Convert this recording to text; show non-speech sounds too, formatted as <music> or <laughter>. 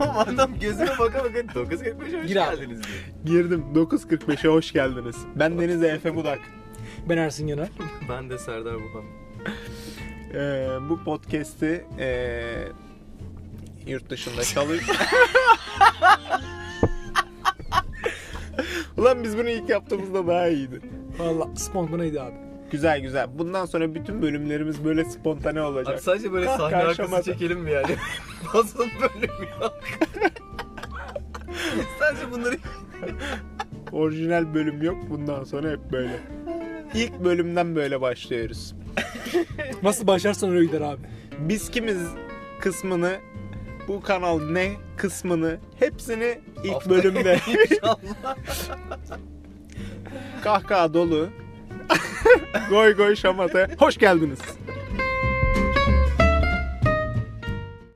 Oğlum adam gözüme baka baka 9.45'e hoş Gir abi. geldiniz diyor. Girdim. 9.45'e hoş geldiniz. Ben Deniz Efe Budak. Ben Ersin Yener. Ben de Serdar Babam. Ee, bu podcast'i ee, yurt dışında çalış... <laughs> Ulan biz bunu ilk yaptığımızda daha iyiydi. Valla spontaneydi abi. Güzel güzel. Bundan sonra bütün bölümlerimiz böyle spontane Abi olacak. sadece böyle sahne Kahkaha arkası aşamada. çekelim mi yani? <laughs> Fazla bölüm yok. <laughs> sadece bunları... Orijinal bölüm yok. Bundan sonra hep böyle. İlk bölümden böyle başlıyoruz. Nasıl başlarsan öyle gider abi. Biz kimiz kısmını bu kanal ne kısmını hepsini ilk Haftaya- bölümde İnşallah. <laughs> kahkaha dolu goy goy şamata hoş geldiniz.